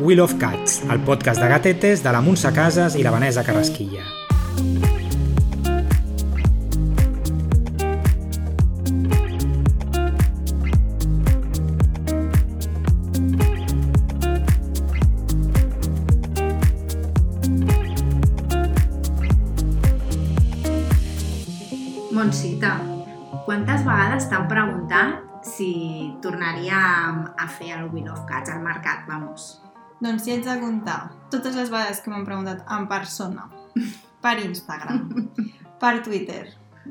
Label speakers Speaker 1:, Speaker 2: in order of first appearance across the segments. Speaker 1: Wheel of Cats, el podcast de gatetes de la Montse Casas i la Vanessa Carrasquilla.
Speaker 2: Montsita, quantes vegades t'han preguntat si tornaríem a fer el Wheel of Cats al mercat, vamos.
Speaker 3: Doncs ja ets de comptar totes les vegades que m'han preguntat en persona, per Instagram, per Twitter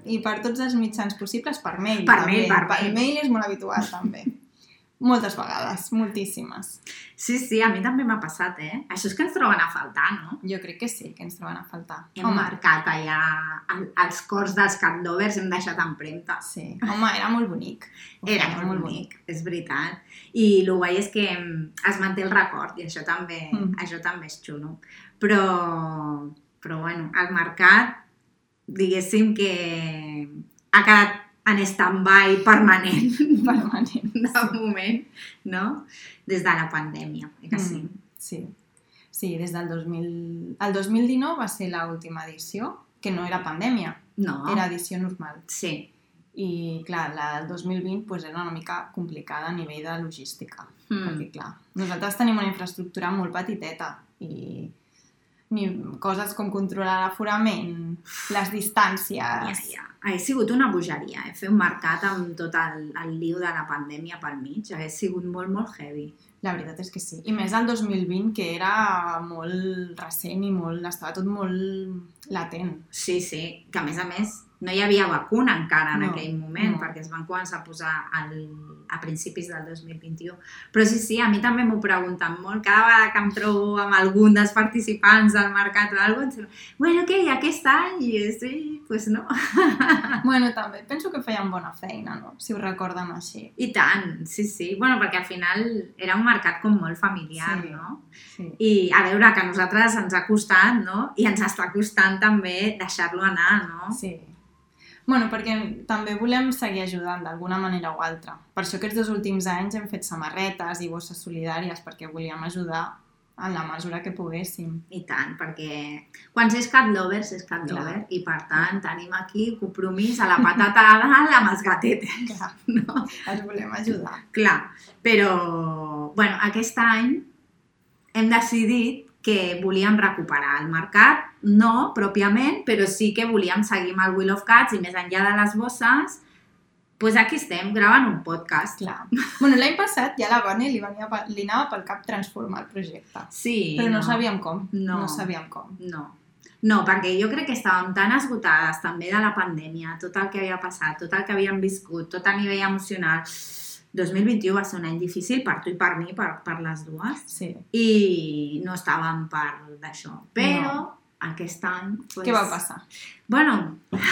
Speaker 3: i per tots els mitjans possibles, per mail.
Speaker 2: Per
Speaker 3: també.
Speaker 2: mail, per mail.
Speaker 3: Per mail és molt habitual, també. Moltes vegades, moltíssimes.
Speaker 2: Sí, sí, a mi també m'ha passat, eh? Això és que ens troben a faltar, no?
Speaker 3: Jo crec que sí, que ens troben a faltar.
Speaker 2: Hem Home. marcat allà el, els cors dels candovers, hem deixat empremtes.
Speaker 3: Sí, home, era molt bonic.
Speaker 2: Era molt, molt bonic, és veritat. I el guai és que mm, es manté el record i això també,
Speaker 3: Mm.
Speaker 2: mm. això també és xulo. Però, però bueno, el mercat, diguéssim que ha quedat en stand-by permanent
Speaker 3: Permanent.
Speaker 2: de moment, no? Des de la pandèmia, eh que sí?
Speaker 3: Mm, sí. Sí, des del 2000... El 2019 va ser l'última edició, que no era pandèmia,
Speaker 2: No,
Speaker 3: era edició normal.
Speaker 2: sí.
Speaker 3: I, clar, la del 2020 pues, era una mica complicada a nivell de logística. Mm.
Speaker 2: Mm.
Speaker 3: Perquè, clar, nosaltres tenim una infraestructura molt petiteta i ni coses com controlar l'aforament, les
Speaker 2: Ja,
Speaker 3: distàncies...
Speaker 2: ja. Ha sigut una bogeria, eh? Fer un mercat amb tot el, el liu de la pandèmia pel mig. Ha sigut molt, molt heavy.
Speaker 3: La veritat és que sí. I més el 2020, que era molt recent i molt, estava tot molt latent.
Speaker 2: Sí, sí, que a més a més no hi havia vacuna encara en
Speaker 3: No,
Speaker 2: aquell moment
Speaker 3: no.
Speaker 2: perquè es van començar a posar al, a principis del 2021. Però sí, sí, a mi també m'ho pregunten molt. Cada vegada que em trobo amb algun dels participants del mercat o alguna cosa, bueno, què, i aquest any? I jo, sí, doncs pues no. Ah.
Speaker 3: Bueno, també, penso que feien bona feina, no? Si ho recorden així.
Speaker 2: I tant, sí, sí. Bueno, perquè al final era un mercat com molt familiar,
Speaker 3: Sí.
Speaker 2: sí. no?
Speaker 3: Sí.
Speaker 2: I a veure, que a nosaltres ens ha costat, no? I ens està costant també deixar-lo anar, no?
Speaker 3: Sí. Bueno, perquè també volem seguir ajudant d'alguna manera o altra. Per això aquests dos últims anys hem fet samarretes i bosses solidàries perquè volíem ajudar en la mesura que poguéssim.
Speaker 2: I tant, perquè quan és cat lovers, és cat
Speaker 3: Clar.
Speaker 2: lover. I per tant, tenim aquí el compromís a la patata de dalt amb els gatetes.
Speaker 3: Clar,
Speaker 2: No?
Speaker 3: els volem ajudar.
Speaker 2: Clar, però bueno, aquest any hem decidit que volíem recuperar el mercat, no pròpiament, però sí que volíem seguir amb el Wheel of Cats i més enllà de les bosses, doncs aquí estem, gravant un podcast.
Speaker 3: Clar. Bueno, l'any passat ja la Bonnie li, venia, pe- li anava pel cap transformar el projecte.
Speaker 2: Sí,
Speaker 3: Però no, sabíem com.
Speaker 2: No.
Speaker 3: no sabíem com.
Speaker 2: No. No, perquè jo crec que estàvem tan esgotades també de la pandèmia, tot el que havia passat, tot el que havíem viscut, tot a nivell emocional. 2021 va ser un any difícil per tu i per mi, per, per les dues,
Speaker 3: Sí.
Speaker 2: i no estàvem per d'això. Però no.
Speaker 3: No.
Speaker 2: aquest any... Pues...
Speaker 3: Què va passar?
Speaker 2: Bueno,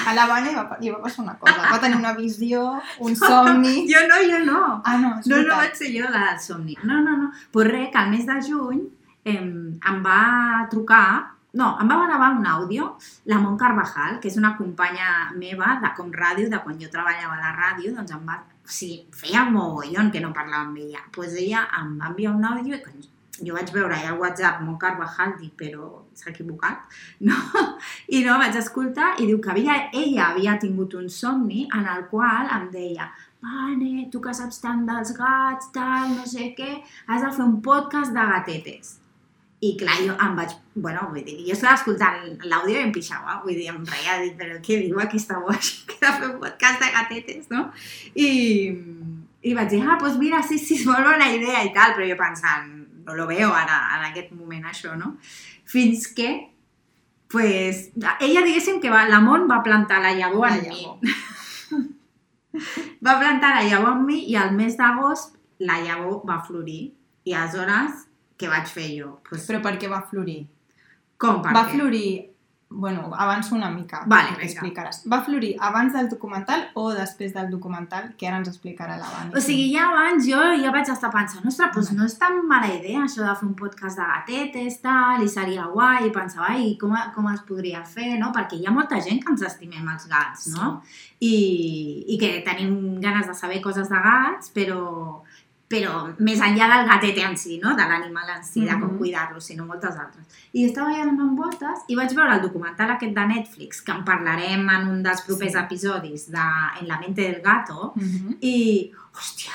Speaker 3: A la Bonnie va, pa- li va passar una cosa. Va tenir una visió, un somni...
Speaker 2: jo no, jo no.
Speaker 3: Ah, no, és
Speaker 2: No, no
Speaker 3: veritat.
Speaker 2: vaig ser jo la del somni. No, no, no. Però res, que al mes de juny em, em va trucar... No, em va gravar un àudio la Mont Carvajal, que és una companya meva de Com Ràdio, de quan jo treballava a la ràdio, doncs em va... O sigui, feia un mogollon que no parlava amb ella. Doncs pues ella em va enviar un àudio i quan jo vaig veure allà al WhatsApp Mont Carvajal, dic, però s'ha equivocat, no? I no, vaig escoltar i diu que havia, ella havia tingut un somni en el qual em deia Vane, tu que saps tant dels gats, tal, no sé què, has de fer un podcast de gatetes. I clar, jo em vaig... Bueno, vull dir, jo estava escoltant l'àudio i em pixava, vull dir, em reia, dic, però què diu aquesta boja que de fer un podcast de gatetes, no? I, i vaig dir, ah, doncs mira, sí, sí, és molt bona idea i tal, però jo pensant, no lo veo ara, en aquest moment, això, no? Fins que, pues, ella diguéssim que va, la Mont va plantar la llavor
Speaker 3: La
Speaker 2: en mi,
Speaker 3: llavor.
Speaker 2: va plantar la llavor amb mi i al mes d'agost la llavor va florir. I aleshores, què vaig fer jo? Pues,
Speaker 3: Però per què va florir?
Speaker 2: com per
Speaker 3: va
Speaker 2: què?
Speaker 3: florir... Bueno, avanço una mica.
Speaker 2: Vale,
Speaker 3: perquè
Speaker 2: vinga.
Speaker 3: explicaràs. Va florir abans del documental o després del documental, que ara ens explicarà la Vani.
Speaker 2: O sigui, ja abans jo ja vaig estar pensant, ostres, doncs no és tan mala idea això de fer un podcast de gatetes, tal, i seria guai, i pensava, ai, com, com es podria fer, no? Perquè hi ha molta gent que ens estimem els gats, no? I, i que tenim ganes de saber coses de gats, però però més enllà del gatet en si, no? de l'animal en si, de com
Speaker 3: Mhm.
Speaker 2: cuidar-lo, sinó moltes altres. I estava ja donant voltes i vaig veure el documental aquest de Netflix, que en parlarem en un dels propers
Speaker 3: Sí.
Speaker 2: episodis, de En la mente del gato,
Speaker 3: Mhm.
Speaker 2: i, hòstia,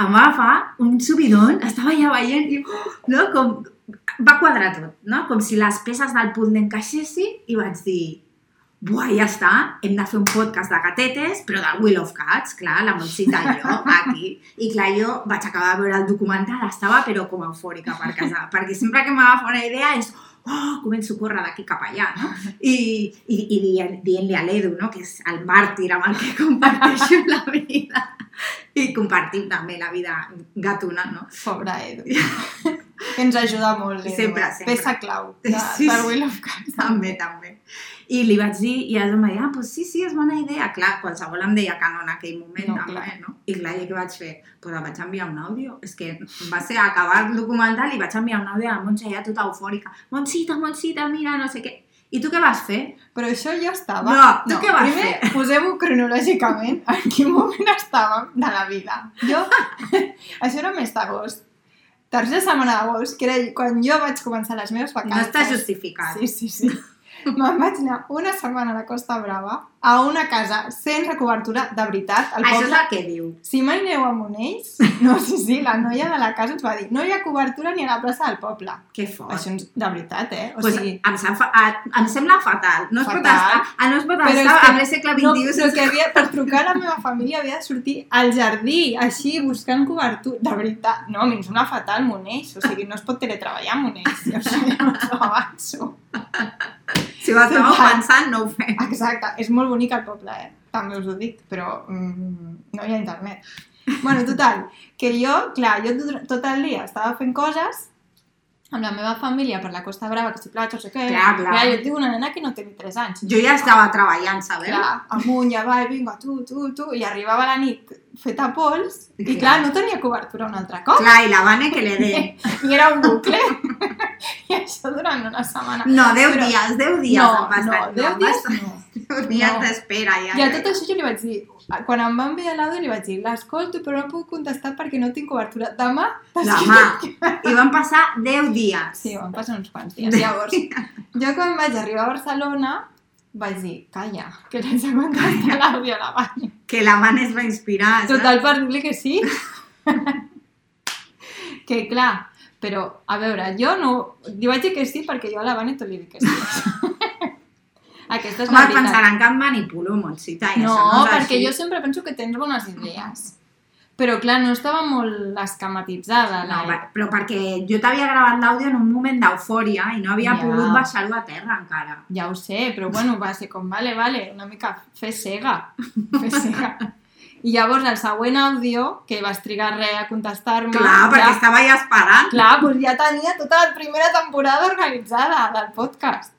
Speaker 2: em va agafar un subidon, estava ja veient, i, oh, no, com, va quadrar tot, no? Com si les peces del puzzle encaixessin i vaig dir, buah, ja està, hem de fer un podcast de gatetes, però del Will of Cats, clar, la Montsita i jo, aquí. I clar, jo vaig acabar de veure el documental, estava però com eufòrica per casa, perquè sempre que m'agafa una idea és, oh, començo a córrer d'aquí cap allà, no? I, i, i dient- dient-li a l'Edu, no? que és el màrtir amb el que comparteixo la vida i compartim també la vida gatuna, no?
Speaker 3: Pobre Edu. que ens ajuda molt, l'Edu.
Speaker 2: Sempre, sempre.
Speaker 3: Peça clau de,
Speaker 2: Sí,
Speaker 3: del
Speaker 2: sí.
Speaker 3: Will of Cards.
Speaker 2: També, també. I li vaig dir, i el em va dir, ah, doncs sí, sí, és bona idea. Clar, qualsevol em deia que no en aquell moment,
Speaker 3: No,
Speaker 2: no, també,
Speaker 3: clar.
Speaker 2: no? I clar, jo què vaig fer? Doncs pues vaig enviar un àudio. És que va ser acabar el documental i vaig enviar un àudio a la Montse, ja tota eufòrica. Montsita, Montsita, mira, no sé què. I tu què vas fer?
Speaker 3: Però això ja estava...
Speaker 2: No, tu què vas
Speaker 3: primer, fer? posem-ho cronològicament en quin moment estàvem de la vida. Jo... això era mes d'agost. Tercera setmana d'agost, que era quan jo vaig començar les meves
Speaker 2: No
Speaker 3: vacances.
Speaker 2: està justificat.
Speaker 3: Sí, sí, sí. Me'n vaig anar una setmana a la Costa Brava a una casa sense cobertura, de veritat. Al
Speaker 2: Això és
Speaker 3: poble...
Speaker 2: el que diu.
Speaker 3: Si mai aneu a Monells, no, sí, sí, la noia de la casa ens va dir no hi ha cobertura ni a la plaça del poble.
Speaker 2: Que fort.
Speaker 3: Això ens... de veritat, eh? O
Speaker 2: pues
Speaker 3: sigui,
Speaker 2: em, sem- fa- a- em sembla fatal. No es pot
Speaker 3: Fatal.
Speaker 2: estar, ah, no es pot
Speaker 3: Però
Speaker 2: estar
Speaker 3: és que
Speaker 2: en el segle
Speaker 3: no,
Speaker 2: XXI.
Speaker 3: el que havia, per trucar a la meva família havia de sortir al jardí, així, buscant cobertura. De veritat, no, a mi em sembla fatal Monells, o sigui, no es pot teletreballar a Monells, jo això ja us ho avanço.
Speaker 2: Si ho estàveu
Speaker 3: Total.
Speaker 2: pensant, no ho fem.
Speaker 3: Exacte, és molt bonic el poble, eh? També us ho dic, però mm, no hi ha internet. Bueno, total, que jo, clar, jo tot- tot el dia estava fent coses amb la meva família per la Costa Brava, que estic platja, no sé què.
Speaker 2: Clar, clar.
Speaker 3: jo tinc una nena que no té ni 3 anys.
Speaker 2: Jo ja eh? estava treballant, sabeu?
Speaker 3: Clar, amunt i avall, vinga, tu, tu, tu, i arribava la nit feta pols, i
Speaker 2: Clar.
Speaker 3: clar, no tenia cobertura un altre cop.
Speaker 2: Clar, i la Vane que le dé.
Speaker 3: I era un bucle. I això durant una setmana.
Speaker 2: No, 10
Speaker 3: Però-
Speaker 2: dies, 10 dies
Speaker 3: no,
Speaker 2: em va estar.
Speaker 3: no, 10
Speaker 2: em
Speaker 3: dies
Speaker 2: va
Speaker 3: no.
Speaker 2: estar 10 dies
Speaker 3: no.
Speaker 2: d'espera, ja.
Speaker 3: I a tot això jo li vaig dir, quan em va enviar l'àudio li vaig dir, l'escolto però no puc contestar perquè no tinc cobertura. Demà
Speaker 2: La mà. I van passar 10 dies.
Speaker 3: Sí, van passar uns quants dies. Llavors, jo quan vaig arribar a Barcelona vaig dir, calla, que l'haig de contestar l'àudio a la Vane.
Speaker 2: Que la Vane es va inspirar, saps?
Speaker 3: Total, per dir-li que sí. que clar, però, a veure, jo no... Li vaig dir que sí perquè jo a la Vane tot li dic que sí. Aquesta és
Speaker 2: Home,
Speaker 3: la veritat.
Speaker 2: pensaran que em manipulo, Montsita, i
Speaker 3: No,
Speaker 2: això no és
Speaker 3: perquè
Speaker 2: així.
Speaker 3: jo sempre penso que tens bones idees. Però, clar, no estava molt esquematitzada.
Speaker 2: No,
Speaker 3: La...
Speaker 2: va- però perquè jo t'havia gravat l'àudio en un moment d'eufòria i no havia
Speaker 3: Ja.
Speaker 2: pogut baixar-ho a terra encara.
Speaker 3: Ja ho sé, però bueno, va ser com, vale, vale, una mica fer cega. Fer cega. I llavors el següent àudio, que vas trigar res a contestar-me...
Speaker 2: Clar, perquè
Speaker 3: ja,
Speaker 2: estava ja esperant.
Speaker 3: clar, doncs ja tenia tota la primera temporada organitzada del podcast.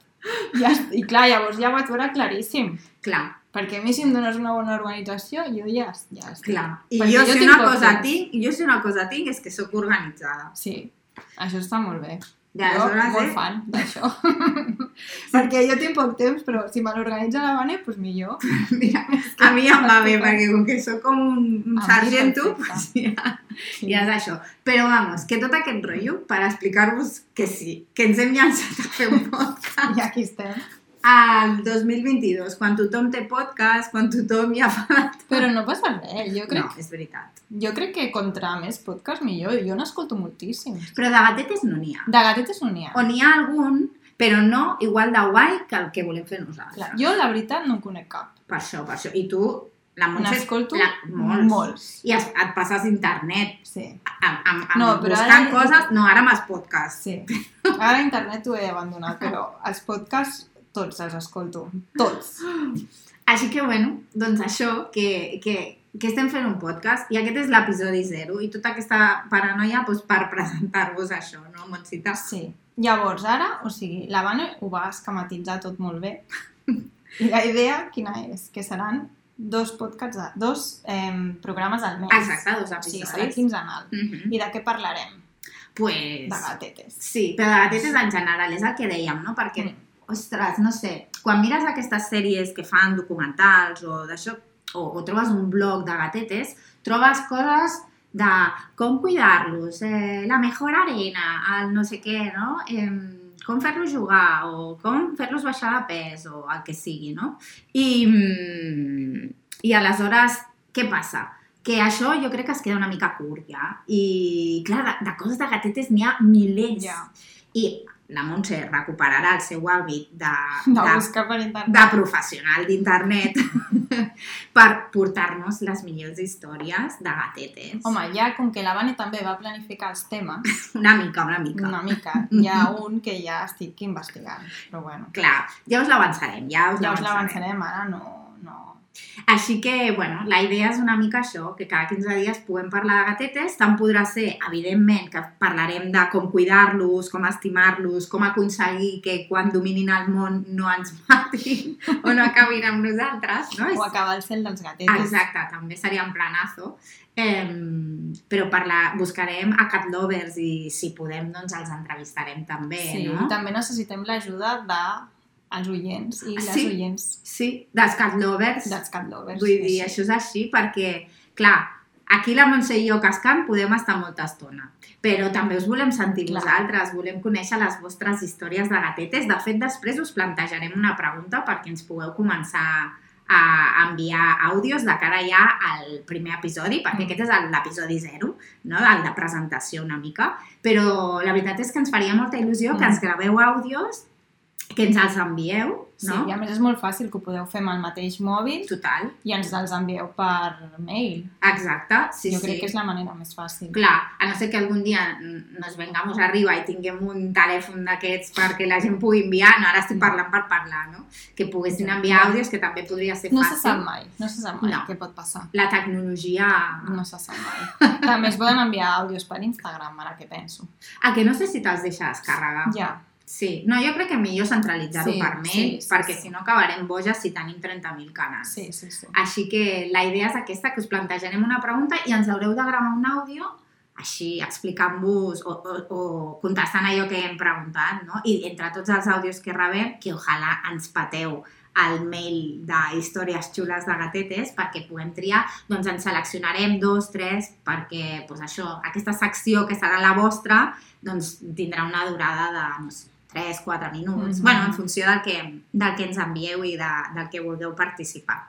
Speaker 3: Ja, I clar, llavors ja vaig veure claríssim.
Speaker 2: Clar,
Speaker 3: Perquè a mi si em dones una bona organització, jo ja, ja estic.
Speaker 2: clar. I
Speaker 3: Perquè
Speaker 2: jo, si
Speaker 3: tinc
Speaker 2: una
Speaker 3: poc
Speaker 2: cosa
Speaker 3: temps.
Speaker 2: tinc, jo si una cosa tinc és que sóc organitzada.
Speaker 3: Sí, això està molt bé.
Speaker 2: Ja,
Speaker 3: jo,
Speaker 2: aleshores,
Speaker 3: molt
Speaker 2: eh?
Speaker 3: fan d'això. perquè jo tinc poc temps, però si me l'organitza la Vane, doncs millor.
Speaker 2: Mira, a mi em va bé, perquè com que sóc com un
Speaker 3: A mi
Speaker 2: sargento,
Speaker 3: perfecte.
Speaker 2: pues ja, ja és això. Però vamos, que tot aquest rotllo per explicar-vos que sí, que ens hem llançat a fer un podcast.
Speaker 3: I aquí estem.
Speaker 2: Al 2022, quan tothom té podcast, quan tothom ja fa...
Speaker 3: Però no passa res, jo crec,
Speaker 2: No, és veritat.
Speaker 3: no. jo crec que contra més podcast millor, jo n'escolto moltíssim.
Speaker 2: Però de gatetes no n'hi ha.
Speaker 3: De gatetes no n'hi ha.
Speaker 2: O n'hi ha algun, però no igual de guai que el que volem fer nosaltres.
Speaker 3: Clar, jo la veritat no en conec cap.
Speaker 2: Per això, per això. I tu, la Montse...
Speaker 3: N'escolto
Speaker 2: la...
Speaker 3: molts.
Speaker 2: molts.
Speaker 3: molts.
Speaker 2: I es, et passes internet
Speaker 3: Sí,
Speaker 2: amb, amb, amb
Speaker 3: No,
Speaker 2: no,
Speaker 3: però
Speaker 2: buscant
Speaker 3: ara-
Speaker 2: ara... coses... No, ara amb els podcasts.
Speaker 3: sí. Ara internet ho he abandonat, però els podcasts tots els escolto. Tots.
Speaker 2: Així que, bueno, doncs això, que, que, que estem fent un podcast i aquest és l'episodi zero i tota aquesta paranoia doncs, per presentar-vos això, no, Montsita?
Speaker 3: Ah, Sí. Llavors, ara, o sigui, la Vane ho va esquematitzar tot molt bé. I la idea, quina és? Que seran dos podcasts, de- dos eh, programes al mes.
Speaker 2: Exacte, dos
Speaker 3: O sigui,
Speaker 2: episodis.
Speaker 3: serà quinzenal.
Speaker 2: Mhm.
Speaker 3: I de què parlarem? De
Speaker 2: Pues...
Speaker 3: gatetes.
Speaker 2: Sí, però de gatetes en general, és el que dèiem, no? Perquè,
Speaker 3: Mm.
Speaker 2: ostres, no sé, quan mires aquestes sèries que fan documentals o d'això, o, o trobes un blog de gatetes, trobes coses de com cuidar-los, eh, la mejor arena, el no sé què, no? Eh, com fer-los jugar o com fer-los baixar de pes o el que sigui, no? I, mm, i aleshores, què passa? Que això jo crec que es queda una mica curt, ja. I, clar, de, de coses de gatetes n'hi ha milers.
Speaker 3: Ja.
Speaker 2: I la Montse recuperarà el seu hàbit de,
Speaker 3: De
Speaker 2: de
Speaker 3: buscar per internet.
Speaker 2: de professional d'internet per portar-nos les millors històries de gatetes.
Speaker 3: Home, ja com que la Vane també va planificar els temes,
Speaker 2: Una mica, una mica. Mhm.
Speaker 3: una mica, hi ha un que ja estic investigant, però bueno.
Speaker 2: Clar, eh. ja us l'avançarem, ja us
Speaker 3: Ja us
Speaker 2: l'avançarem.
Speaker 3: l'avançarem, ara no, no...
Speaker 2: Així que, bueno, la idea és una mica això, que cada 15 dies puguem parlar de gatetes, tant podrà ser, evidentment, que parlarem de com cuidar-los, com estimar-los, com aconseguir que quan dominin el món no ens matin o no acabin amb nosaltres, no?
Speaker 3: O
Speaker 2: És-
Speaker 3: acabar el cel dels gatetes.
Speaker 2: Exacte, també seria un planazo. Eh, però parlar, buscarem a cat lovers i si podem doncs els entrevistarem també,
Speaker 3: Sí,
Speaker 2: no?
Speaker 3: també necessitem l'ajuda de els oients i les
Speaker 2: Ah, Sí.
Speaker 3: oients
Speaker 2: Sí, dels cat lovers.
Speaker 3: dels cat lovers.
Speaker 2: Vull dir, això és així perquè, clar, aquí la Montse i jo cascant podem estar molta estona, però també us volem sentir
Speaker 3: Clar.
Speaker 2: vosaltres, volem conèixer les vostres històries de gatetes. De fet, després us plantejarem una pregunta perquè ens pugueu començar a enviar àudios de cara ja al primer episodi, perquè
Speaker 3: Mm.
Speaker 2: aquest és el- l'episodi zero, no? el de presentació una mica, però la veritat és que ens faria molta il·lusió que
Speaker 3: Mm.
Speaker 2: ens graveu àudios, que ens els envieu,
Speaker 3: Sí,
Speaker 2: no?
Speaker 3: i a més és molt fàcil que ho podeu fer amb el mateix mòbil
Speaker 2: Total,
Speaker 3: i ens els envieu per mail.
Speaker 2: exacte. Sí,
Speaker 3: jo
Speaker 2: sí.
Speaker 3: crec que és la manera més fàcil.
Speaker 2: Clar, a no ser que algun dia mm, nos vengamos arriba i tinguem un telèfon d'aquests perquè la gent pugui enviar, no, ara estic parlant per parlar, no? Que poguessin enviar àudios, que també podria ser
Speaker 3: No se sap
Speaker 2: fàcil.
Speaker 3: mai, no se sap mai
Speaker 2: No.
Speaker 3: què pot passar.
Speaker 2: La tecnologia...
Speaker 3: No se sap mai. També es poden enviar àudios per Instagram, ara que penso.
Speaker 2: El que no sé si te'ls deixa descarregar.
Speaker 3: Ja,
Speaker 2: Sí, no, jo crec que millor centralitzar-ho
Speaker 3: Sí,
Speaker 2: per mail,
Speaker 3: sí, sí,
Speaker 2: perquè
Speaker 3: sí.
Speaker 2: si no acabarem boges si tenim 30.000 canals.
Speaker 3: sí, sí, sí.
Speaker 2: Així que la idea és aquesta, que us plantejarem una pregunta i ens haureu de gravar un àudio així explicant-vos o, o, o contestant allò que hem preguntat, no? I entre tots els àudios que rebem, que ojalà ens pateu al mail de històries xules de gatetes perquè puguem triar, doncs en seleccionarem dos, tres, perquè doncs això, aquesta secció que serà la vostra doncs tindrà una durada de no sé, 3-4 minuts,
Speaker 3: Mhm.
Speaker 2: bueno, en funció del que, del que ens envieu i de, del que vulgueu participar.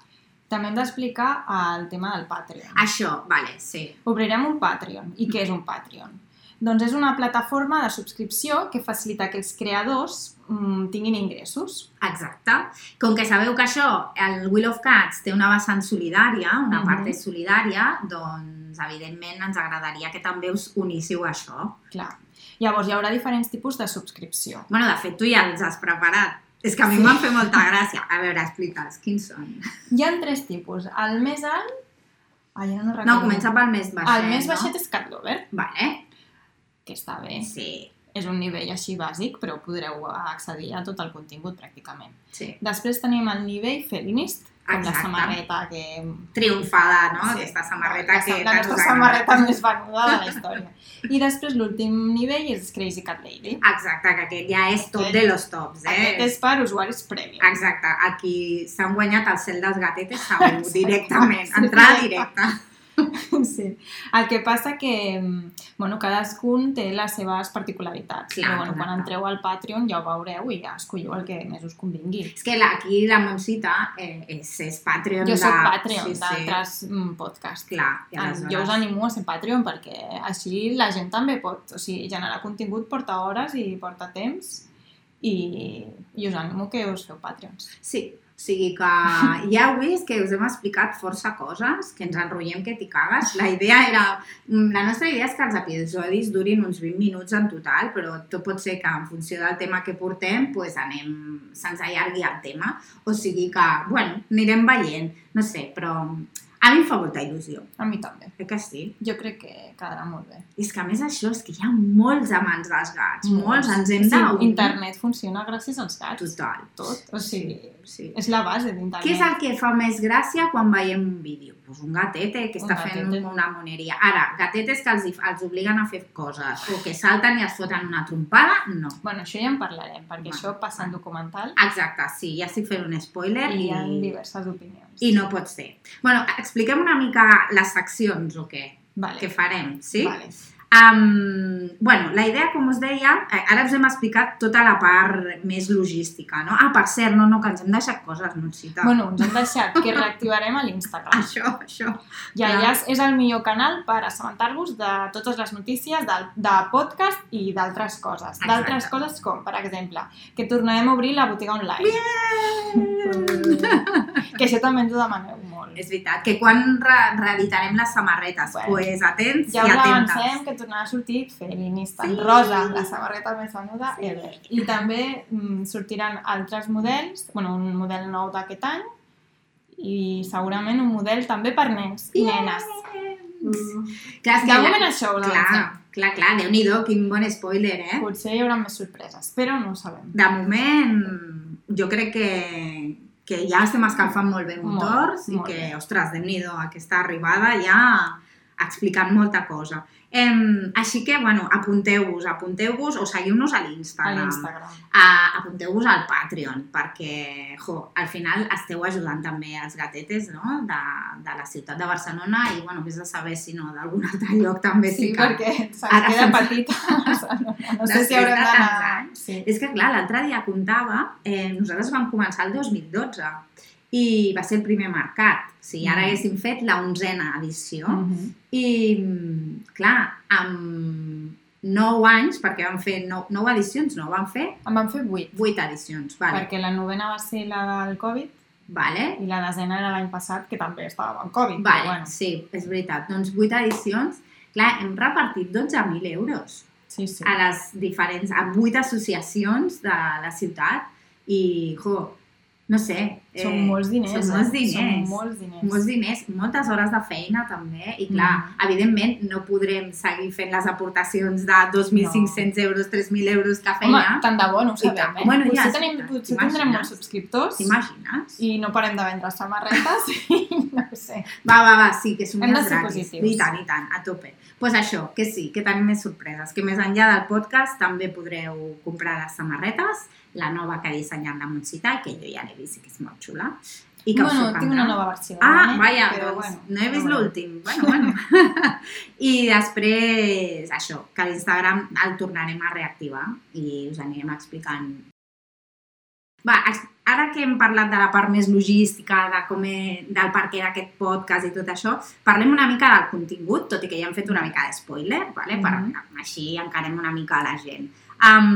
Speaker 3: També hem d'explicar el tema del Patreon.
Speaker 2: Això, vale, sí.
Speaker 3: Obrirem un Patreon. I què
Speaker 2: Mm.
Speaker 3: és un Patreon? Doncs és una plataforma de subscripció que facilita que els creadors mm, tinguin ingressos.
Speaker 2: Exacte. Com que sabeu que això, el Wheel of Cats té una vessant solidària, una
Speaker 3: Mhm.
Speaker 2: part és solidària, doncs evidentment ens agradaria que també us uníssiu a això.
Speaker 3: Clar. Llavors, hi haurà diferents tipus de subscripció.
Speaker 2: bueno, de fet, tu ja els has preparat. És que a mi
Speaker 3: Sí.
Speaker 2: m'han fet molta gràcia. A veure, explica'ls, quins són?
Speaker 3: Hi ha tres tipus. El més alt... Ai, ara no recordo.
Speaker 2: No, comença pel més baixet,
Speaker 3: El més
Speaker 2: No?
Speaker 3: baixet és Cat Lover,
Speaker 2: Vale,
Speaker 3: que està bé.
Speaker 2: sí,
Speaker 3: És un nivell així bàsic, però podreu accedir a tot el contingut pràcticament.
Speaker 2: sí.
Speaker 3: Després tenim el nivell feminist, com
Speaker 2: Exacte.
Speaker 3: la samarreta que...
Speaker 2: Triomfada, no?
Speaker 3: Sí.
Speaker 2: Aquesta samarreta
Speaker 3: la,
Speaker 2: que...
Speaker 3: La
Speaker 2: tant us
Speaker 3: nostra
Speaker 2: agrada.
Speaker 3: samarreta més venuda de la història. I després l'últim nivell és Crazy Cat Lady.
Speaker 2: Exacte, que aquest ja és top
Speaker 3: Aquest-
Speaker 2: de los tops, eh?
Speaker 3: Aquest és per usuaris premium.
Speaker 2: Exacte, aquí s'han guanyat el cel dels gatetes segur,
Speaker 3: Exacte.
Speaker 2: directament,
Speaker 3: Sí,
Speaker 2: entrada
Speaker 3: directe.
Speaker 2: directa.
Speaker 3: Sí. El que passa que, mm, bueno, cadascun té les seves particularitats.
Speaker 2: Clar,
Speaker 3: Clar, però, bueno, quan
Speaker 2: clar.
Speaker 3: entreu al Patreon ja ho veureu i ja escolliu el que més us convingui.
Speaker 2: És que la, aquí la Montsita eh, és, és Patreon.
Speaker 3: Jo soc
Speaker 2: de-
Speaker 3: Patreon d'altres mm, podcasts.
Speaker 2: Clar, i
Speaker 3: Ah,
Speaker 2: aleshores...
Speaker 3: Jo us animo a ser Patreon perquè així la gent també pot, o sigui, generar contingut porta hores i porta temps i, i us animo que us feu Patreons.
Speaker 2: Sí, o sigui que ja heu vist que us hem explicat força coses, que ens enrotllem que t'hi cagues. La idea era... mm, La nostra idea és que els episodis durin uns 20 minuts en total, però tot pot ser que en funció del tema que portem, pues anem... se'ns allargui el tema. O sigui que, bueno, anirem veient, no sé, però a mi em fa molta il·lusió.
Speaker 3: A mi també.
Speaker 2: Crec que sí.
Speaker 3: Jo crec que quedarà molt bé.
Speaker 2: És que a més això, és que hi ha molts amants dels gats, molts, ens hem
Speaker 3: sí,
Speaker 2: d'unir.
Speaker 3: Internet funciona gràcies als gats.
Speaker 2: Total.
Speaker 3: Tot. O sigui,
Speaker 2: Sí.
Speaker 3: és la base d'internet.
Speaker 2: Què és el que fa més gràcia quan veiem un vídeo? Pues un gatete que
Speaker 3: Un
Speaker 2: està fent
Speaker 3: gatete.
Speaker 2: una moneria. Ara, gatetes que els, els obliguen a fer coses o que salten i es foten una trompada, no.
Speaker 3: Bueno, això ja en parlarem, perquè
Speaker 2: Bueno.
Speaker 3: això passa en documental
Speaker 2: Exacte, sí, ja estic fent un spoiler
Speaker 3: i
Speaker 2: Ah, i,
Speaker 3: hi ha diverses opinions.
Speaker 2: i no pot ser. Bueno, expliquem una mica les seccions o què?
Speaker 3: Vale.
Speaker 2: que farem, sí?
Speaker 3: Vale.
Speaker 2: Um, bueno, la idea, com us deia, eh, ara us hem explicat tota la part més logística, no? Ah, per cert, no, no, que ens hem deixat coses, no, Xita?
Speaker 3: Bueno, ens han deixat que reactivarem a l'Instagram.
Speaker 2: Això, això.
Speaker 3: I
Speaker 2: clar.
Speaker 3: allà és- és el millor canal per assabentar-vos de totes les notícies del, de podcast i d'altres coses.
Speaker 2: Exacte.
Speaker 3: D'altres coses com, per exemple, que tornarem a obrir la botiga online. Que això també ens ho demaneu molt.
Speaker 2: És veritat, que quan re reeditarem les samarretes,
Speaker 3: Bueno.
Speaker 2: bueno, pues atents
Speaker 3: Ja
Speaker 2: i
Speaker 3: us
Speaker 2: atentes.
Speaker 3: avancem que tornarà a sortir feminista
Speaker 2: Sí.
Speaker 3: sí. rosa, la samarreta més venuda
Speaker 2: Sí.
Speaker 3: sí. ever. I també mm, sortiran altres models, bueno, un model nou d'aquest any i segurament un model també per nens i nenes.
Speaker 2: Mm. Clar, és
Speaker 3: De
Speaker 2: que ja,
Speaker 3: moment això ho
Speaker 2: clar,
Speaker 3: clar.
Speaker 2: clar, clar, déu-n'hi-do, quin bon spoiler, eh?
Speaker 3: Potser hi haurà més sorpreses, però no ho sabem.
Speaker 2: De moment, jo crec que, que ja estem escalfant molt bé
Speaker 3: Molt,
Speaker 2: motors i
Speaker 3: molt
Speaker 2: que,
Speaker 3: bé.
Speaker 2: ostres, déu nhi aquesta arribada ja ha explicat molta cosa. Em, així que, bueno, apunteu-vos, apunteu-vos o seguiu-nos a
Speaker 3: A
Speaker 2: l'Instagram.
Speaker 3: l'Instagram.
Speaker 2: A- Apunteu-vos al Patreon, perquè, jo, al final esteu ajudant també els gatetes, no?, de, de la ciutat de Barcelona i, bueno, vés a saber si no, d'algun altre lloc també
Speaker 3: Sí,
Speaker 2: sí, que...
Speaker 3: perquè se'ns
Speaker 2: Ara
Speaker 3: queda
Speaker 2: se'ns-
Speaker 3: petita. No sé si
Speaker 2: Després
Speaker 3: haurem
Speaker 2: de tants
Speaker 3: d'anar...
Speaker 2: anys.
Speaker 3: Sí.
Speaker 2: És que, clar, l'altre dia comptava, eh, nosaltres vam començar el 2012 i va ser el primer mercat. Si ara
Speaker 3: Mm.
Speaker 2: haguéssim fet la onzena edició
Speaker 3: Mhm.
Speaker 2: i, mm, clar, amb 9 anys, perquè vam fer 9, 9 edicions, no, vam fer
Speaker 3: En van fer vuit,
Speaker 2: 8 edicions, vale,
Speaker 3: perquè la novena va ser la del Covid
Speaker 2: vale,
Speaker 3: I la desena era l'any passat, que també estava amb Covid. però
Speaker 2: vale
Speaker 3: Bueno,
Speaker 2: sí, és veritat. Doncs 8 edicions, clar, hem repartit 12.000 euros.
Speaker 3: sí, sí.
Speaker 2: a les diferents, a vuit associacions de la ciutat i, jo, no sé...
Speaker 3: Són molts diners.
Speaker 2: eh, Són molts
Speaker 3: eh?
Speaker 2: diners.
Speaker 3: Són molts diners.
Speaker 2: molts diners, moltes hores de feina també, i clar,
Speaker 3: Mm.
Speaker 2: mm. evidentment no podrem seguir fent les aportacions de 2.500 no. euros, 3.000 euros que
Speaker 3: Home,
Speaker 2: feia.
Speaker 3: tant de bo, no ho
Speaker 2: I
Speaker 3: sabem,
Speaker 2: tant.
Speaker 3: eh?
Speaker 2: Bueno, ja,
Speaker 3: potser
Speaker 2: sí,
Speaker 3: tenim,
Speaker 2: clar.
Speaker 3: potser
Speaker 2: T'imagines?
Speaker 3: tindrem molts subscriptors
Speaker 2: T'imagines?
Speaker 3: i no parem de vendre samarretes i no ho sé.
Speaker 2: Va, va, va, sí, que som
Speaker 3: Hem de
Speaker 2: més
Speaker 3: ser
Speaker 2: gratis.
Speaker 3: positius.
Speaker 2: I tant, i tant, a tope. Doncs pues això, que sí, que tenim més sorpreses, que més enllà del podcast també podreu comprar les samarretes, la nova que ha dissenyat la Montsita, que jo ja l'he vist i que és molt xula. I que us
Speaker 3: bueno, tinc
Speaker 2: sorprendrà.
Speaker 3: una nova versió.
Speaker 2: Ah,
Speaker 3: eh?
Speaker 2: vaja,
Speaker 3: Però
Speaker 2: doncs
Speaker 3: bueno,
Speaker 2: no he vist
Speaker 3: però bueno.
Speaker 2: l'últim. Bueno, bueno. I després, això, que l'Instagram el tornarem a reactivar i us anirem explicant. Va, ex- ara que hem parlat de la part més logística, de com he, del per què d'aquest podcast i tot això, parlem una mica del contingut, tot i que ja hem fet una mica d'espoiler, vale?
Speaker 3: Mhm.
Speaker 2: per, així encarem una mica la gent.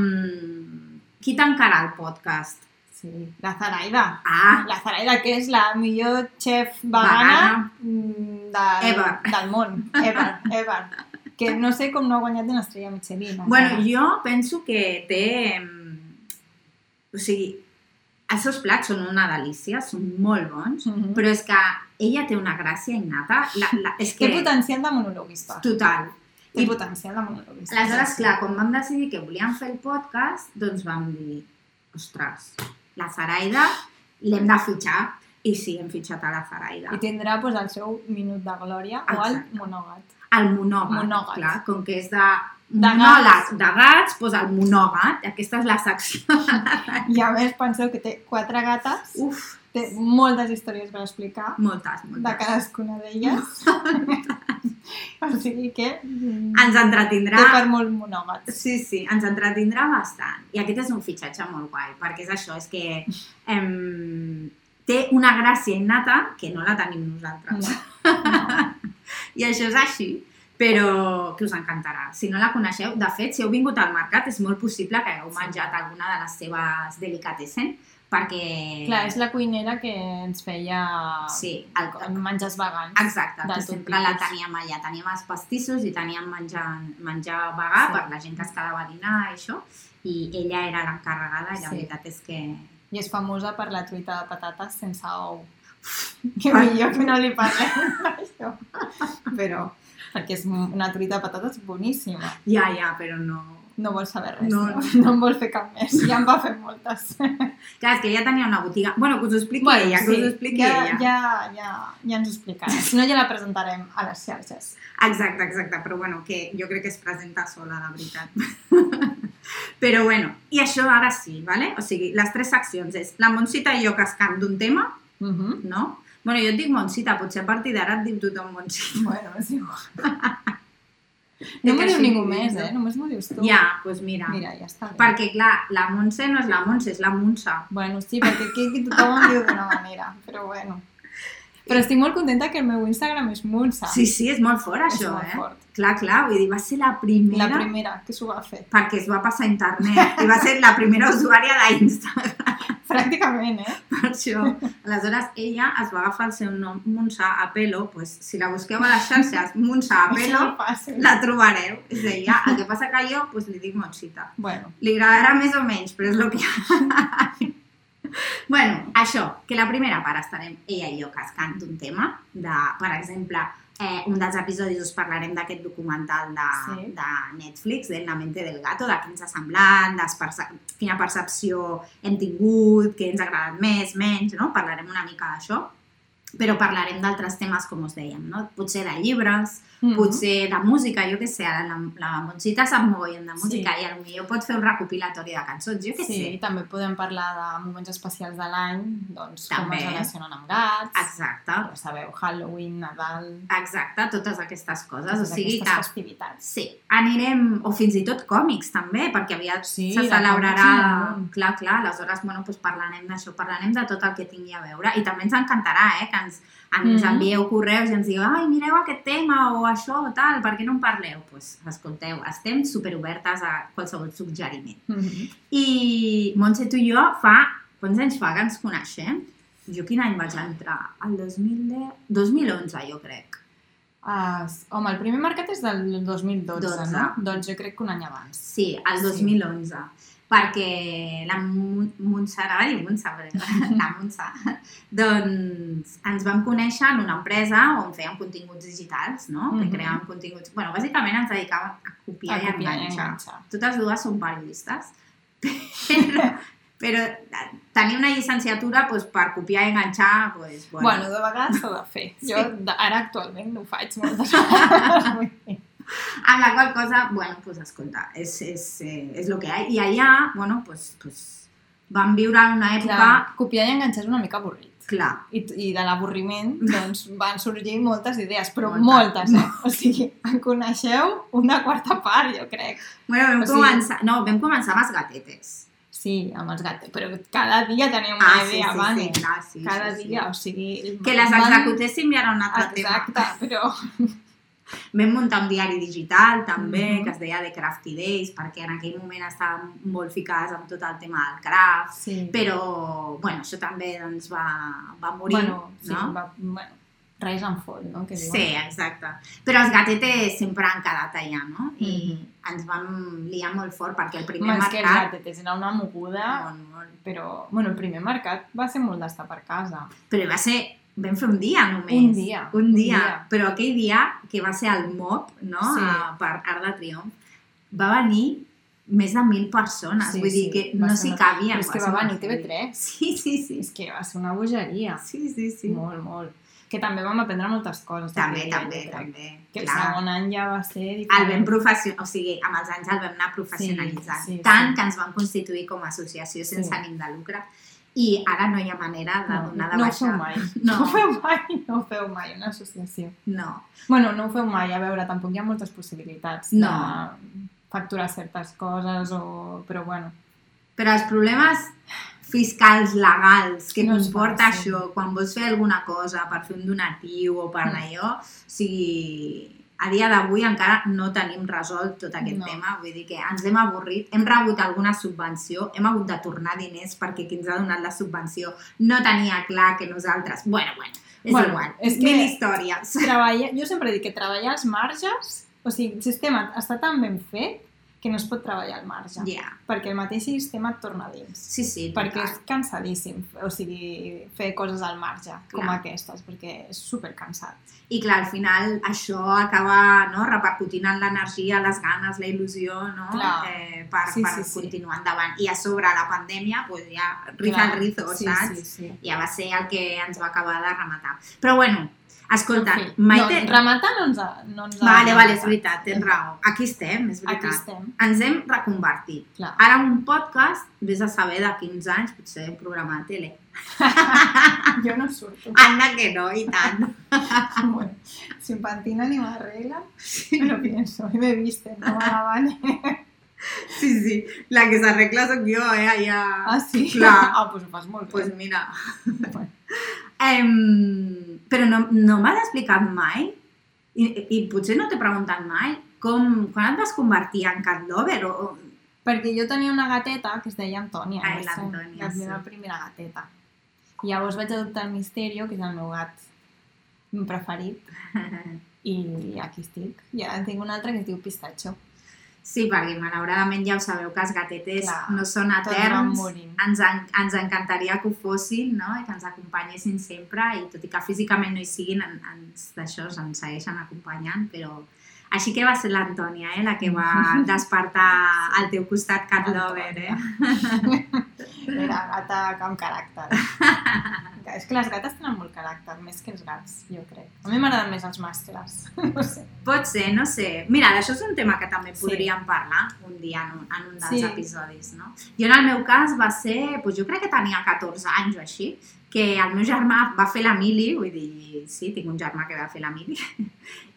Speaker 2: Um, qui tancarà el podcast?
Speaker 3: Sí, la Zaraida.
Speaker 2: Ah,
Speaker 3: La Zaraida, que és la millor chef
Speaker 2: Vegana.
Speaker 3: vegana, mm, del,
Speaker 2: Ever.
Speaker 3: del món. Ever, ever. Que no sé com no ha guanyat una estrella Michelin.
Speaker 2: Bueno,
Speaker 3: encara.
Speaker 2: jo penso que té... em, O sigui, els seus plats són una delícia, són molt bons,
Speaker 3: Mhm.
Speaker 2: però és que ella té una gràcia innata. La, la, és
Speaker 3: Té
Speaker 2: que...
Speaker 3: potencial de monologuista.
Speaker 2: Total.
Speaker 3: Té
Speaker 2: I-
Speaker 3: potencial de monologuista.
Speaker 2: Aleshores, clar, quan vam decidir que volíem fer el podcast, doncs vam dir, ostres, la Zaraida l'hem de fitxar. I sí, hem fitxat a la Zaraida.
Speaker 3: I tindrà pues, el seu minut de glòria o el
Speaker 2: Exacte.
Speaker 3: monògat.
Speaker 2: El monògat,
Speaker 3: Monògat.
Speaker 2: clar, com que és de,
Speaker 3: De
Speaker 2: monòleg
Speaker 3: gats.
Speaker 2: de gats, doncs el monògat. Aquesta és la secció.
Speaker 3: I a més, penseu que té quatre gates,
Speaker 2: Uf,
Speaker 3: té moltes històries per explicar
Speaker 2: moltes, moltes.
Speaker 3: de cadascuna d'elles. o sigui que mm,
Speaker 2: ens
Speaker 3: té per
Speaker 2: entretindrà
Speaker 3: molt monògat.
Speaker 2: Sí, sí, ens entretindrà bastant. I aquest és un fitxatge molt guai, perquè és això, és que em, té una gràcia innata que no la tenim
Speaker 3: No,
Speaker 2: nosaltres.
Speaker 3: no.
Speaker 2: I això és així, però que us encantarà. Si no la coneixeu, de fet, si heu vingut al mercat, és molt possible que hagueu menjat alguna de les seves delicatessen, perquè...
Speaker 3: Clar, és la cuinera que ens feia
Speaker 2: Sí, el,
Speaker 3: en menjars vegans.
Speaker 2: Exacte,
Speaker 3: De
Speaker 2: que
Speaker 3: tot
Speaker 2: sempre la
Speaker 3: tipus.
Speaker 2: teníem allà. Teníem els pastissos i teníem menjar, menjar vegà
Speaker 3: Sí.
Speaker 2: per la gent que es quedava a dinar i això. I ella era l'encarregada i la
Speaker 3: Sí.
Speaker 2: veritat és que...
Speaker 3: I és famosa per la truita de patates sense ou. Que millor que no li parlem d'això. Però, perquè és una truita de patates boníssima.
Speaker 2: Ja, ja, però no...
Speaker 3: No vol saber res.
Speaker 2: No,
Speaker 3: No,
Speaker 2: no.
Speaker 3: no. no en vol fer cap més. Ja en va fer moltes.
Speaker 2: Clar, és que ella tenia una botiga... Bueno, que us ho expliqui bueno, ella, que us ho expliqui
Speaker 3: ja,
Speaker 2: ella.
Speaker 3: ja, ja, ja ens ho explicarà. Si no, ja la presentarem a les xarxes.
Speaker 2: Exacte, exacte, però bueno, que jo crec que es presenta sola, la veritat. però bueno, i això ara sí, vale? O sigui, les tres seccions és la Montsita i jo cascant d'un tema,
Speaker 3: Uh -huh.
Speaker 2: no? Bueno, jo et dic Montsita, potser a partir d'ara et diu tothom Montsita.
Speaker 3: Bueno, és igual. No
Speaker 2: Que
Speaker 3: m'ho diu
Speaker 2: sí,
Speaker 3: ningú
Speaker 2: sí,
Speaker 3: més,
Speaker 2: sí.
Speaker 3: eh? Només m'ho dius tu.
Speaker 2: Ja, doncs pues mira.
Speaker 3: Mira, ja està. bé.
Speaker 2: Perquè, clar, la Montse no és la Montse, és la Montse.
Speaker 3: Bueno, sí, perquè aquí, aquí tothom em diu d'una manera, però bueno. Però estic molt contenta que el meu Instagram és Munsa.
Speaker 2: Sí, sí, és molt fort, això,
Speaker 3: és molt
Speaker 2: eh?
Speaker 3: fort.
Speaker 2: Clar, clar, vull dir, va ser la primera,
Speaker 3: La primera que s'ho va fer.
Speaker 2: perquè es va passar a internet i va ser la primera usuària d'Instagram,
Speaker 3: Pràcticament, eh?
Speaker 2: per això. Aleshores, ella es va agafar el seu nom, Montse Apelo, pues, si la busqueu a les xarxes, Montse
Speaker 3: Això
Speaker 2: Apelo,
Speaker 3: no passa.
Speaker 2: la trobareu, és ella. El que passa que jo, pues, li dic Montsita.
Speaker 3: Bueno,
Speaker 2: Li agradarà més o menys, però és el que hi ha. bueno, això, que la primera part estarem ella i jo cascant d'un tema, de, per exemple, eh, un dels episodis us parlarem d'aquest documental de,
Speaker 3: Sí.
Speaker 2: sí. de Netflix, de La mente del gato, de què ens ha semblat, des perce quina percepció hem tingut, què ens ha agradat més, menys, no? Parlarem una mica d'això, però parlarem d'altres temes, com us dèiem, no? Potser de llibres,
Speaker 3: mm.
Speaker 2: potser de música, jo què sé, ara la, la Montsita sap mogollon de música sí.
Speaker 3: Sí.
Speaker 2: i potser pots fer un recopilatori de cançons, jo què
Speaker 3: Sí,
Speaker 2: sí.
Speaker 3: i també podem parlar de moments especials de l'any, doncs també. com
Speaker 2: També.
Speaker 3: es relacionen amb gats,
Speaker 2: sé. Exacte,
Speaker 3: ja sabeu, Halloween, Nadal,
Speaker 2: exacte, totes aquestes coses,
Speaker 3: totes
Speaker 2: Ah, o sigui
Speaker 3: aquestes
Speaker 2: que...
Speaker 3: festivitats.
Speaker 2: Sí, anirem, o fins i tot còmics també, perquè aviat
Speaker 3: Sí,
Speaker 2: sí, se
Speaker 3: de
Speaker 2: celebrarà,
Speaker 3: còmics en un.
Speaker 2: clar, clar, aleshores, bueno, doncs parlarem d'això, parlarem de tot el que tingui a veure, i també ens encantarà, eh, que ens, ens
Speaker 3: Mhm.
Speaker 2: envieu correus i ens digueu, ai, mireu aquest tema, o això, o tal, per què no en parleu? Doncs, pues, escolteu, estem superobertes a qualsevol suggeriment.
Speaker 3: Mm -hmm.
Speaker 2: I Montse, tu i jo fa... Quants anys fa que ens coneixem? Jo quin any vaig entrar? El 2010... 2011, jo crec.
Speaker 3: uh, home, el primer mercat és del 2012, 12. no?
Speaker 2: Dotze.
Speaker 3: Doncs jo crec que un any abans.
Speaker 2: Sí, el
Speaker 3: Sí.
Speaker 2: 2011. Perquè la Mon- Montse, anava a dir Montse, però la Montse, doncs ens vam conèixer en una empresa on fèiem continguts digitals, no? Mm -hmm.
Speaker 3: Mhm.
Speaker 2: Que creàvem continguts... bueno, bàsicament ens dedicàvem a copiar,
Speaker 3: A
Speaker 2: i
Speaker 3: copiar i
Speaker 2: enganxar.
Speaker 3: enganxar.
Speaker 2: totes dues són periodistes, però, però tenir una llicenciatura doncs, per copiar i enganxar, doncs, bueno,
Speaker 3: Bueno,
Speaker 2: bueno,
Speaker 3: de vegades s'ha de fer. Jo
Speaker 2: Sí.
Speaker 3: de- ara actualment no ho faig moltes vegades. vull dir.
Speaker 2: amb la qual cosa, bueno, pues, doncs, escolta, és, és, eh, és el que hi ha. I allà, bueno, pues, doncs, doncs, vam viure una època...
Speaker 3: Clar, copiar i enganxar és una mica avorrit.
Speaker 2: Clar. clar
Speaker 3: I, i de l'avorriment doncs, van sorgir moltes idees, però moltes,
Speaker 2: Moltes.
Speaker 3: eh? O sigui, en coneixeu una quarta part, jo crec.
Speaker 2: bueno, vam
Speaker 3: O sigui-
Speaker 2: començar... No, vam començar amb les gatetes.
Speaker 3: Sí, amb els gats, però cada dia teniu una ah, idea, sí, Vane. Sí,
Speaker 2: clar, sí,
Speaker 3: cada Ah,
Speaker 2: sí,
Speaker 3: dia,
Speaker 2: Sí.
Speaker 3: o sigui...
Speaker 2: Que les
Speaker 3: van-
Speaker 2: executéssim i era un altre tema.
Speaker 3: Exacte, però...
Speaker 2: Vam muntar un diari digital també, mm
Speaker 3: Mhm.
Speaker 2: -hmm. que es deia The Crafty Days, perquè en aquell moment estàvem molt ficades amb tot el tema del craft,
Speaker 3: Sí,
Speaker 2: però bueno, això també doncs, va, va morir,
Speaker 3: bueno, sí,
Speaker 2: no?
Speaker 3: va, bueno, res en fot, no? Que diuen.
Speaker 2: Sí, exacte. Però els gatetes sempre han quedat allà, no? I
Speaker 3: Mhm.
Speaker 2: ens vam liar molt fort perquè el
Speaker 3: Home,
Speaker 2: primer
Speaker 3: és que els
Speaker 2: mercat...
Speaker 3: gatetes era una moguda,
Speaker 2: Molt, molt.
Speaker 3: però... Bueno, el primer mercat va ser molt d'estar per casa.
Speaker 2: Però va ser... Vam fer un dia només.
Speaker 3: Un dia,
Speaker 2: Un
Speaker 3: un
Speaker 2: dia.
Speaker 3: dia.
Speaker 2: Però aquell dia, que va ser el MOB, no?
Speaker 3: Sí.
Speaker 2: A, per Art de Triomf, va venir més de mil persones.
Speaker 3: Sí,
Speaker 2: Vull dir
Speaker 3: sí,
Speaker 2: que
Speaker 3: va
Speaker 2: no
Speaker 3: ser
Speaker 2: s'hi
Speaker 3: una-
Speaker 2: cabia.
Speaker 3: Però és que va venir TV3.
Speaker 2: Sí, sí, sí.
Speaker 3: És que va ser una bogeria.
Speaker 2: Sí, sí, sí.
Speaker 3: Sí. Molt, molt. Que també vam aprendre moltes coses.
Speaker 2: També,
Speaker 3: jo
Speaker 2: també,
Speaker 3: crec.
Speaker 2: també.
Speaker 3: Que el
Speaker 2: clar.
Speaker 3: segon any ja va ser
Speaker 2: el
Speaker 3: diferent.
Speaker 2: vam professionalitzar, o sigui, amb els anys el vam anar professionalitzant,
Speaker 3: Sí,
Speaker 2: sí,
Speaker 3: sí,
Speaker 2: sí, tant
Speaker 3: sí.
Speaker 2: que ens vam constituir com a associació sense
Speaker 3: Sí.
Speaker 2: sí. ànim de lucre i ara no hi ha manera de donar de
Speaker 3: no ho
Speaker 2: baixa.
Speaker 3: feu mai. No.
Speaker 2: No.
Speaker 3: ho feu mai, no ho feu mai, una associació.
Speaker 2: No,
Speaker 3: Bueno, no ho feu mai, a veure, tampoc hi ha moltes possibilitats
Speaker 2: No.
Speaker 3: de facturar certes coses o... Però bueno,
Speaker 2: però els problemes fiscals legals que
Speaker 3: No
Speaker 2: no
Speaker 3: és
Speaker 2: comporta
Speaker 3: fàcil.
Speaker 2: això, quan vols fer alguna cosa per fer un donatiu o per
Speaker 3: Mm.
Speaker 2: allò, o sigui, a dia d'avui encara no tenim resolt tot aquest
Speaker 3: No.
Speaker 2: no. tema, vull dir que ens hem avorrit, hem rebut alguna subvenció, hem hagut de tornar diners perquè qui ens ha donat la subvenció no tenia clar que nosaltres... Bueno, bueno, és
Speaker 3: Bueno,
Speaker 2: bueno, igual,
Speaker 3: és que-
Speaker 2: mil històries.
Speaker 3: treballa... jo sempre dic que treballar als marges, o sigui, el sistema està tan ben fet que no es pot treballar al marge,
Speaker 2: Ja,
Speaker 3: perquè el mateix sistema et torna a dins.
Speaker 2: sí, sí,
Speaker 3: perquè és
Speaker 2: total.
Speaker 3: cansadíssim, o sigui, fer coses al marge, com
Speaker 2: Clar.
Speaker 3: aquestes, perquè és supercansat.
Speaker 2: I clar, al final això acaba no, repercutint en l'energia, les ganes, la il·lusió, no?
Speaker 3: Clar.
Speaker 2: Eh, per,
Speaker 3: Sí,
Speaker 2: sí, per
Speaker 3: sí,
Speaker 2: sí,
Speaker 3: sí.
Speaker 2: continuar endavant. I a sobre la pandèmia, pues, ja riza
Speaker 3: Clar.
Speaker 2: el rizo,
Speaker 3: sí,
Speaker 2: saps?
Speaker 3: Sí, sí.
Speaker 2: Ja va ser el que ens va acabar de rematar. Però bueno, escolta,
Speaker 3: En fi,
Speaker 2: Maite...
Speaker 3: No, rematar no ens ha... No ens ha
Speaker 2: vale, vale, és
Speaker 3: rematat.
Speaker 2: veritat, tens raó. Aquí estem, és
Speaker 3: Aquí
Speaker 2: veritat.
Speaker 3: estem,
Speaker 2: Ens hem reconvertit.
Speaker 3: clar.
Speaker 2: Ara un podcast, vés a saber de 15 anys, potser un programa de tele. Ah.
Speaker 3: jo no surto.
Speaker 2: Anda que no, i tant.
Speaker 3: Bueno, sin pantina ni me arregla, me lo pienso. Y me viste, no Ah, vale.
Speaker 2: Sí, sí, la que s'arregla sóc jo, eh, allà.
Speaker 3: Ah, sí?
Speaker 2: Clar.
Speaker 3: Ah, pues ho fas molt
Speaker 2: Pues
Speaker 3: bé.
Speaker 2: mira.
Speaker 3: Bueno.
Speaker 2: Em, però no, no m'has explicat mai, i, i potser no t'he preguntat mai, com, quan et vas convertir en cat lover o... o-
Speaker 3: Perquè jo tenia una gateta que es deia Antònia.
Speaker 2: Ai,
Speaker 3: va ser
Speaker 2: l'Antònia,
Speaker 3: La
Speaker 2: sí.
Speaker 3: meva primera gateta. I llavors vaig adoptar el Misterio, que és el meu gat preferit, i aquí estic. I ara en tinc un altre que es diu Pistacho.
Speaker 2: Sí, perquè malauradament ja ho sabeu que els gatetes
Speaker 3: Clar,
Speaker 2: no són
Speaker 3: Tots van
Speaker 2: eterns.
Speaker 3: morint.
Speaker 2: Ens, en, ens encantaria que ho fossin, no? I que ens acompanyessin sempre, i tot i que físicament no hi siguin, en, ens, d'això ens segueixen acompanyant, però... Així que va ser l'Antònia, eh? La que va despertar al teu costat cat lover, eh?
Speaker 3: Era gata amb caràcter. és que les gates tenen molt caràcter, més que els gats, jo crec. A mi m'agraden més els mascles. No sé.
Speaker 2: Pot ser, no sé. Mira, d'això és un tema que també
Speaker 3: Sí.
Speaker 2: podríem parlar un dia en un, en un dels
Speaker 3: Sí.
Speaker 2: episodis, no? Jo en el meu cas va ser, doncs jo crec que tenia 14 anys o així, que el meu germà va fer la mili, vull dir, sí, tinc un germà que va fer la mili,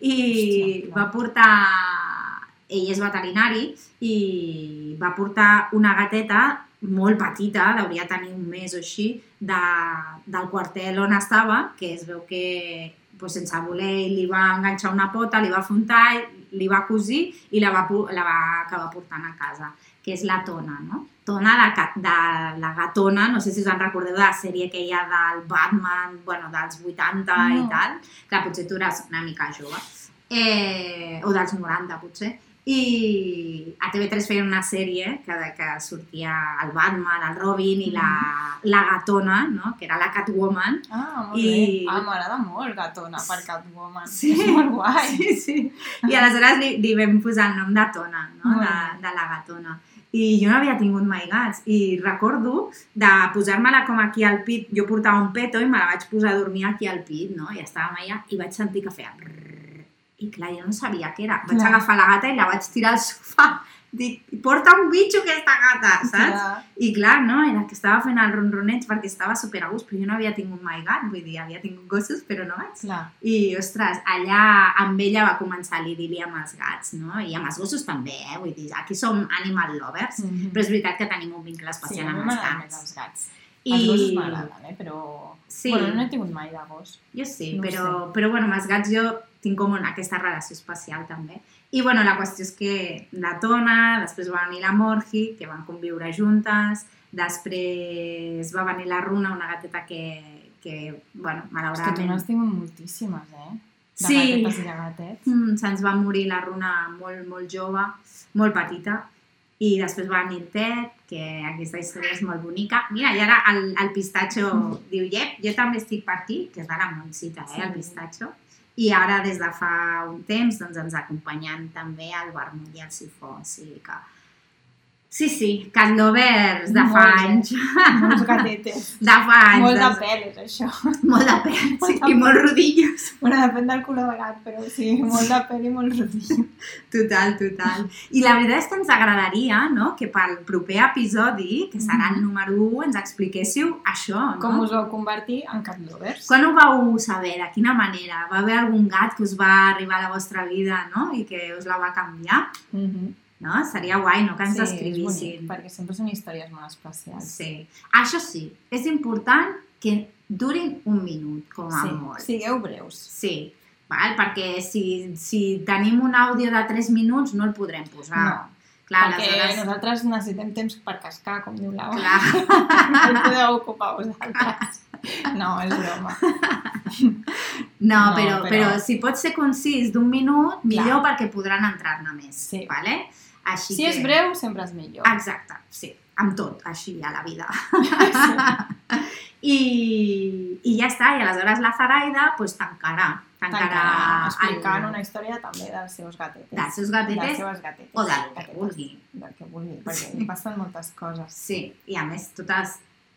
Speaker 2: i
Speaker 3: Hòstia, clar.
Speaker 2: va portar... Ell és veterinari i va portar una gateta molt petita, deuria tenir un mes o així, de, del quartel on estava, que es veu que doncs, sense voler li va enganxar una pota, li va afrontar, li va cosir i la va, pu- la va acabar portant a casa, que és la Tona, no? Tona de, ca- de la gatona, no sé si us en recordeu de la sèrie que hi ha del Batman, bueno, dels 80 i
Speaker 3: No.
Speaker 2: tal, que potser tu eres una mica jove, eh, o dels 90 potser, i a TV3 feien una sèrie que, que sortia el Batman, el Robin i la, la gatona, no? que era la Catwoman,
Speaker 3: Ah, molt
Speaker 2: I-
Speaker 3: bé. Ah, m'agrada molt gatona per Catwoman.
Speaker 2: Sí.
Speaker 3: És molt guai.
Speaker 2: Sí, sí. I aleshores li, li vam posar el nom de Tona, no?
Speaker 3: Molt
Speaker 2: de,
Speaker 3: bé.
Speaker 2: de la gatona. I jo no havia tingut mai gats. I recordo de posar-me-la com aquí al pit. Jo portava un peto i me la vaig posar a dormir aquí al pit, no? I estàvem allà i vaig sentir que feia... brrrr. I clar, jo no sabia què era. Vaig
Speaker 3: Clar.
Speaker 2: agafar la gata i la vaig tirar al sofà. Dic, porta un bitxo aquesta gata, saps?
Speaker 3: Clar.
Speaker 2: I clar, no, era que estava fent el ronroneig perquè estava super a gust, però jo no havia tingut mai gat, vull dir, havia tingut gossos, però no gats.
Speaker 3: Clar.
Speaker 2: I, ostres, allà amb ella va començar l'idili amb els gats, no? I amb els gossos també, eh? Vull dir, aquí som animal lovers,
Speaker 3: Mhm.
Speaker 2: però és veritat que tenim un vincle
Speaker 3: Sí,
Speaker 2: especial
Speaker 3: a mi
Speaker 2: amb els
Speaker 3: m'agraden més
Speaker 2: gats.
Speaker 3: els gats.
Speaker 2: I...
Speaker 3: Els gossos m'agraden, eh? però...
Speaker 2: Sí,
Speaker 3: Bueno, no he tingut mai de gos.
Speaker 2: jo sí,
Speaker 3: no ho
Speaker 2: però, però bueno, amb els gats jo tinc com una, aquesta relació especial també. I bueno, la qüestió és que la Tona, després va venir la Morgi, que van conviure juntes, després va venir la Runa, una gateta que, que bueno,
Speaker 3: És que tu
Speaker 2: malauradament...
Speaker 3: n'has tingut moltíssimes, eh? De
Speaker 2: sí,
Speaker 3: gatetes i de gatets.
Speaker 2: Mm, se'ns va morir la Runa molt, molt jove, molt petita, i després va venir el Ted, que aquesta història és molt bonica. Mira, i ara el, el Pistacho diu, Yep, jo també estic per aquí, que és de la Montsita, eh, el
Speaker 3: Sí.
Speaker 2: Pistacho. I ara, des de fa un temps, doncs ens acompanyen també el Vermut i el Sifó, o sigui que... Sí, sí, Cat Lovers de fa
Speaker 3: Molts, eh?
Speaker 2: anys.
Speaker 3: Molts gatetes.
Speaker 2: De fa anys.
Speaker 3: Molt de
Speaker 2: doncs,
Speaker 3: peles, això.
Speaker 2: molt de pèl. sí,
Speaker 3: Molt de
Speaker 2: I molt rodillos.
Speaker 3: Bueno, depèn del color de gat, però sí, molt de pell i molt rodillo.
Speaker 2: Total, total. I la veritat és que ens agradaria no? que pel proper episodi, que serà el número 1, ens expliquéssiu això, no?
Speaker 3: Mm-hmm. Com us vau convertir en cat lovers?
Speaker 2: Quan ho vau saber? De quina manera? Va haver algun gat que us va arribar a la vostra vida no? i que us la va canviar?
Speaker 3: Mhm.
Speaker 2: No? Seria guai, no? Que ens sí,
Speaker 3: Sí, és bonic,
Speaker 2: escrivissin.
Speaker 3: perquè sempre són històries molt especials.
Speaker 2: Sí. Això sí, és important que durin un minut, com a molt.
Speaker 3: sigueu breus.
Speaker 2: Sí, val? perquè si, si tenim un àudio de 3 minuts no el podrem posar.
Speaker 3: No,
Speaker 2: Clar,
Speaker 3: perquè
Speaker 2: aleshores...
Speaker 3: nosaltres necessitem temps per cascar, com diu Laura.
Speaker 2: Clar.
Speaker 3: No el podeu ocupar vosaltres. No, és broma.
Speaker 2: No,
Speaker 3: No,
Speaker 2: però, però...
Speaker 3: però-
Speaker 2: si pot ser concís d'un minut, millor perquè podran entrar-ne més.
Speaker 3: Sí.
Speaker 2: Vale? Així
Speaker 3: Si
Speaker 2: que...
Speaker 3: és breu, sempre és millor.
Speaker 2: Exacte, sí. Amb tot, així a la vida.
Speaker 3: Sí.
Speaker 2: I, I ja està, i aleshores la Zaraida pues, tancarà. Tancarà,
Speaker 3: Tancarà explicant
Speaker 2: el-
Speaker 3: una història també dels seus gatetes.
Speaker 2: dels seus
Speaker 3: Les
Speaker 2: gatetes
Speaker 3: seves gatetes.
Speaker 2: o del que
Speaker 3: Gatetes.
Speaker 2: vulgui.
Speaker 3: Del que vulgui, perquè
Speaker 2: Sí.
Speaker 3: li passen moltes coses.
Speaker 2: Sí, i a més totes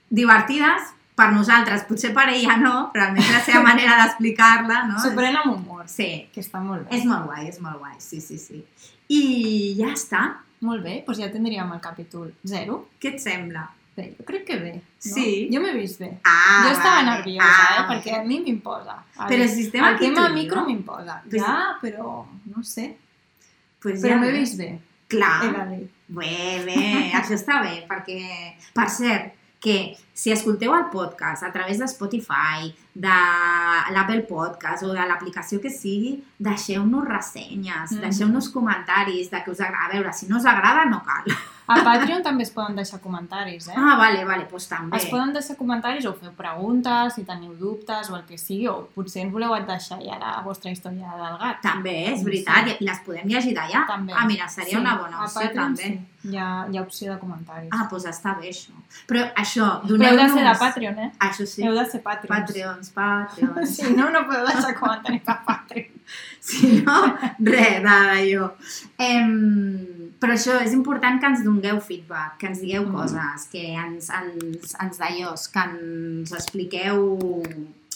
Speaker 2: divertides per nosaltres, potser per ella no, però almenys la seva manera d'explicar-la, no?
Speaker 3: S'ho pren amb humor,
Speaker 2: Sí,
Speaker 3: que està molt bé.
Speaker 2: És molt guai, és molt guai, sí, sí, sí. I ja està.
Speaker 3: Molt bé, doncs ja tindríem el capítol 0.
Speaker 2: Què et sembla?
Speaker 3: Bé, jo crec que bé. No?
Speaker 2: Sí.
Speaker 3: Jo m'he vist bé.
Speaker 2: Ah,
Speaker 3: jo estava
Speaker 2: vale.
Speaker 3: nerviosa,
Speaker 2: Ah,
Speaker 3: eh? Perquè a mi m'imposa. El-
Speaker 2: Però el sistema
Speaker 3: El
Speaker 2: que
Speaker 3: tema
Speaker 2: tu
Speaker 3: micro
Speaker 2: dius,
Speaker 3: m'imposa.
Speaker 2: Pues-
Speaker 3: Ja, però no sé.
Speaker 2: pues
Speaker 3: Però
Speaker 2: ja Ah.
Speaker 3: m'he
Speaker 2: ves.
Speaker 3: vist bé.
Speaker 2: Clar.
Speaker 3: He de dir.
Speaker 2: Bé, bé, això està bé, perquè, per cert, que si escolteu el podcast a través de Spotify, de l'Apple Podcast o de l'aplicació que sigui, deixeu-nos ressenyes,
Speaker 3: Mhm.
Speaker 2: deixeu-nos comentaris de que us agrada. A veure, si no us agrada, no cal.
Speaker 3: A Patreon també es poden deixar comentaris, eh?
Speaker 2: Ah, vale, vale, doncs també.
Speaker 3: Es poden deixar comentaris o feu preguntes, si teniu dubtes o el que sigui, o potser ens voleu deixar ja la vostra història del gat.
Speaker 2: També, és veritat, i les podem llegir d'allà.
Speaker 3: També.
Speaker 2: Ah, mira, seria una bona
Speaker 3: a
Speaker 2: opció,
Speaker 3: Patreon,
Speaker 2: també.
Speaker 3: Sí. Hi, ha, hi ha opció de comentaris.
Speaker 2: Ah, doncs està bé això. Però això,
Speaker 3: Però heu de ser de
Speaker 2: doneu-nos...
Speaker 3: Patreon, eh?
Speaker 2: Això sí,
Speaker 3: Heu de ser Patreons.
Speaker 2: Patreons, Patreons.
Speaker 3: Si no, no podeu deixar comentaris a Patreon.
Speaker 2: Si no, res, nada, jo. Em, però això, és important que ens dongueu feedback, que ens digueu
Speaker 3: Mhm.
Speaker 2: coses, que ens, ens, ens dallós, que ens expliqueu...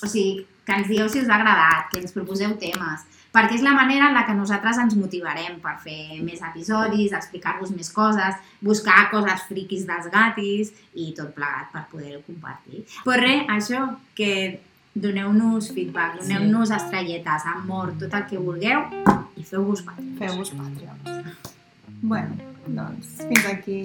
Speaker 2: O sigui, que ens digueu si us ha agradat, que ens proposeu temes, perquè és la manera en la que nosaltres ens motivarem per fer més episodis, explicar-vos més coses, buscar coses friquis dels gatis i tot plegat per poder-ho compartir. Però res, això, que doneu-nos feedback,
Speaker 3: Sí.
Speaker 2: doneu-nos estrelletes, amor, tot el que vulgueu i feu-vos patrons.
Speaker 3: Feu-vos Patreons. Bueno, doncs, fins aquí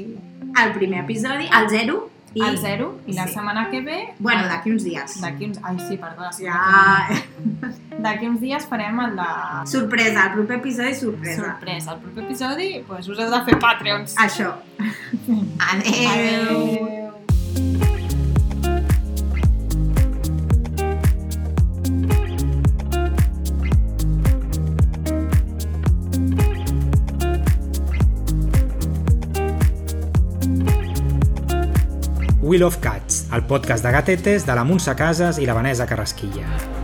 Speaker 2: El primer episodi, el zero, i...
Speaker 3: al zero. I la
Speaker 2: sí.
Speaker 3: setmana que ve... ah,
Speaker 2: Bueno, d'aquí uns dies.
Speaker 3: D'aquí uns... Ai, sí, perdó. la setmana
Speaker 2: Ja...
Speaker 3: que ve. D'aquí uns dies farem el de...
Speaker 2: Sorpresa, el proper episodi, sorpresa.
Speaker 3: Sorpresa. El proper episodi, doncs, us heu de fer Patreons.
Speaker 2: Això. Adeu. Adeu.
Speaker 3: Adeu.
Speaker 1: Will of Cats, el podcast de gatetes de la Montse Casas i la Vanessa Carrasquilla.